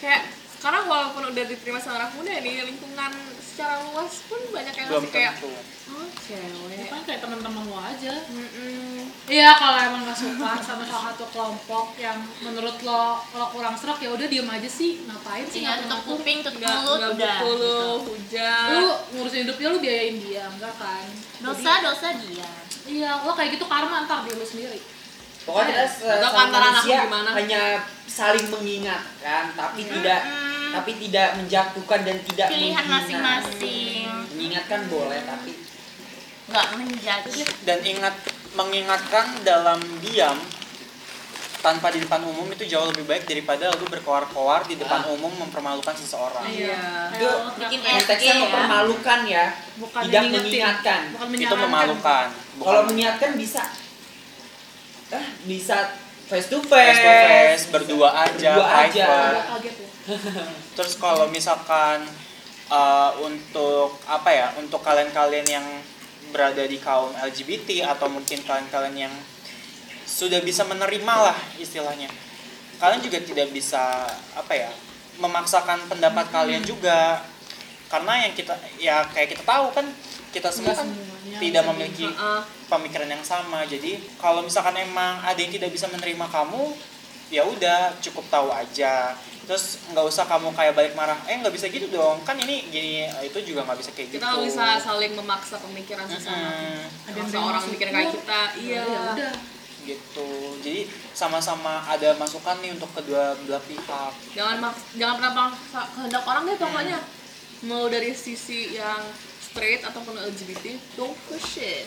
S2: Kayak sekarang walaupun udah diterima sama anak muda di lingkungan secara luas pun banyak yang
S3: belum
S2: masih kayak
S3: tentu
S2: oh cewek.
S5: kan kayak teman-teman lo aja
S2: Mm-mm.
S5: iya kalau emang nggak suka sama salah satu kelompok yang menurut lo lo kurang serak ya udah diem aja sih ngapain sih
S8: Tinggal tutup
S5: ngatur-ngatur
S8: kuping, tutup
S2: Nggak
S8: mulut,
S2: nggak
S8: udah. gitu. Iya.
S2: butuh lu, hujan.
S5: lu ngurusin hidupnya lu biayain dia enggak kan
S8: Dosa, dosa dia.
S5: Jadi, iya lo kayak gitu karma ntar dia lu sendiri
S1: Pokoknya kita
S2: Atau
S1: sesama
S2: antara anakku
S1: manusia
S2: gimana?
S1: hanya saling mengingatkan tapi tidak tapi tidak menjatuhkan dan tidak
S8: Pilihan
S1: menghina.
S8: masing-masing.
S1: Mengingatkan boleh tapi
S8: Nggak menjadi.
S3: dan ingat mengingatkan dalam diam tanpa di depan umum itu jauh lebih baik daripada lu berkoar-koar di depan umum mempermalukan seseorang.
S2: Iya.
S1: itu
S5: Kayak lo
S8: bikin
S5: terapkan.
S8: SG
S1: konteksnya
S8: ya.
S1: mempermalukan ya,
S5: Bukan
S1: tidak
S5: mengingetin.
S1: mengingatkan.
S5: bukan
S3: Itu
S5: menyarankan.
S3: memalukan. Bukan
S1: Kalau mengingatkan bisa eh bisa face to face,
S3: face to face, berdua aja,
S1: Berdua aja.
S5: Agak
S3: private.
S5: kaget ya
S3: Terus kalau misalkan eh, untuk apa ya, untuk kalian-kalian yang berada di kaum LGBT atau mungkin kalian-kalian yang sudah bisa menerima lah istilahnya, kalian juga tidak bisa apa ya memaksakan pendapat kalian juga karena yang kita ya kayak kita tahu kan kita semua kan
S5: Iya,
S3: tidak memiliki pemikiran yang sama jadi kalau misalkan emang ada yang tidak bisa menerima kamu ya udah cukup tahu aja terus nggak usah kamu kayak balik marah eh nggak bisa gitu dong kan ini gini eh, itu juga nggak bisa kayak gitu
S2: kita nggak bisa saling memaksa pemikiran sesama
S3: Mm,
S5: Ada yang
S2: Maksa orang
S5: masuk
S2: mikir kayak
S5: gua.
S2: kita iya
S5: ya udah
S3: gitu jadi sama-sama ada masukan nih untuk kedua belah pihak
S2: jangan maks- jangan pernah paksa kehendak orang deh pokoknya mau dari sisi yang straight ataupun LGBT don't push it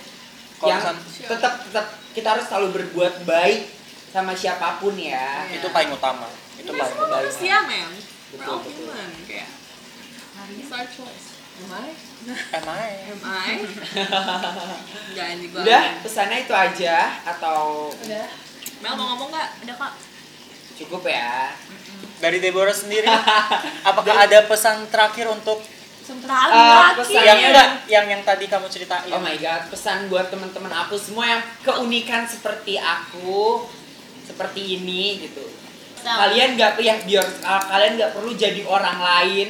S3: kalau
S1: yang
S3: misalkan-
S1: tetap tetap kita harus selalu berbuat baik sama siapapun ya.
S3: itu paling utama itu
S2: itu
S3: paling
S2: semua
S3: utama
S2: manusia men we're
S1: Betul,
S2: all
S1: betul.
S2: human kayak it's our choice am I
S3: Am I?
S2: am I jangan juga
S1: Udah, pesannya itu aja atau
S2: Mel mau ngomong nggak
S8: Udah kok.
S1: cukup ya?
S3: dari Deborah sendiri apakah ada pesan terakhir untuk
S8: Sementara
S1: Ah,
S2: Iya.
S8: lagi.
S1: pesan
S3: yang enggak yang yang tadi kamu ceritain
S1: Oh my god, pesan buat teman-teman aku semua yang keunikan seperti aku seperti ini gitu. Kalian nggak ya biar kalian nggak perlu jadi orang lain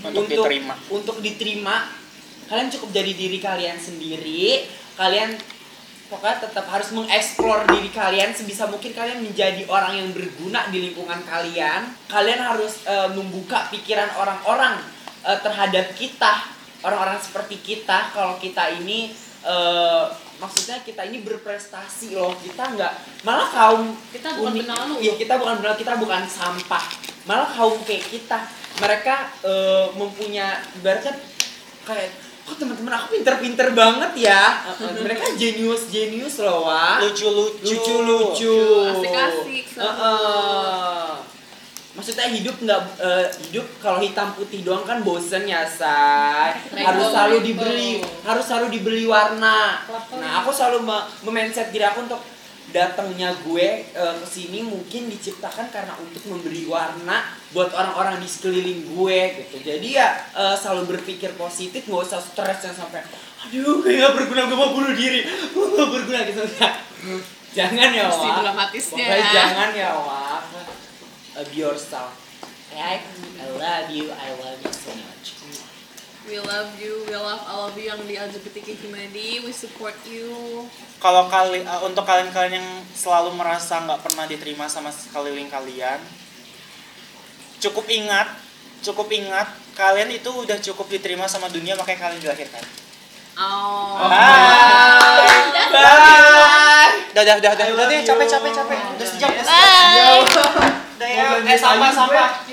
S3: Untuk diterima.
S1: Untuk diterima, kalian cukup jadi diri kalian sendiri. Kalian pokoknya tetap harus mengeksplor diri kalian sebisa mungkin kalian menjadi orang yang berguna di lingkungan kalian. Kalian harus eh, membuka pikiran orang-orang eh, terhadap kita, orang-orang seperti kita. Kalau kita ini eh, maksudnya kita ini berprestasi loh. Kita nggak malah kaum
S5: Kita bukan
S1: unik-
S5: benalu.
S1: Iya, kita bukan benalu, kita bukan sampah. Malah kaum kayak kita mereka eh, mempunyai ibaratnya kayak kok teman-teman aku pinter-pinter banget ya mereka genius genius loh wah
S3: lucu lucu
S1: lucu lucu
S2: Asik-asik, seru.
S1: Heeh. maksudnya hidup nggak eh, hidup kalau hitam putih doang kan bosen ya say harus
S2: Rainbow,
S1: selalu
S2: rainbow.
S1: dibeli harus selalu dibeli warna nah aku selalu me- memindset diri aku untuk datangnya gue eh, ke sini mungkin diciptakan karena untuk memberi warna buat orang-orang di sekeliling gue gitu jadi ya eh, selalu berpikir positif nggak usah stres yang sampai aduh gue nggak berguna gue mau bunuh diri gue nggak berguna gitu jangan ya
S2: Mesti
S1: Wak.
S2: dramatisnya.
S1: Pokoknya jangan ya Wak Be yourself I, I love you, I love you so much
S2: we love you we love all of you yang di LGBTQ community we support you
S3: kalau kali eh, untuk kalian-kalian yang selalu merasa nggak pernah diterima sama sekeliling kalian cukup ingat cukup ingat kalian itu udah cukup diterima sama dunia makanya kalian dilahirkan
S2: oh
S1: Bye Bye
S3: udah udah udah udah
S1: I
S3: udah
S1: love
S3: deh,
S1: you.
S3: capek capek capek udah sejam udah sejam
S2: bye
S3: udah ya eh
S1: Ngobrolin
S3: sampah
S1: lagi gue.
S3: sampah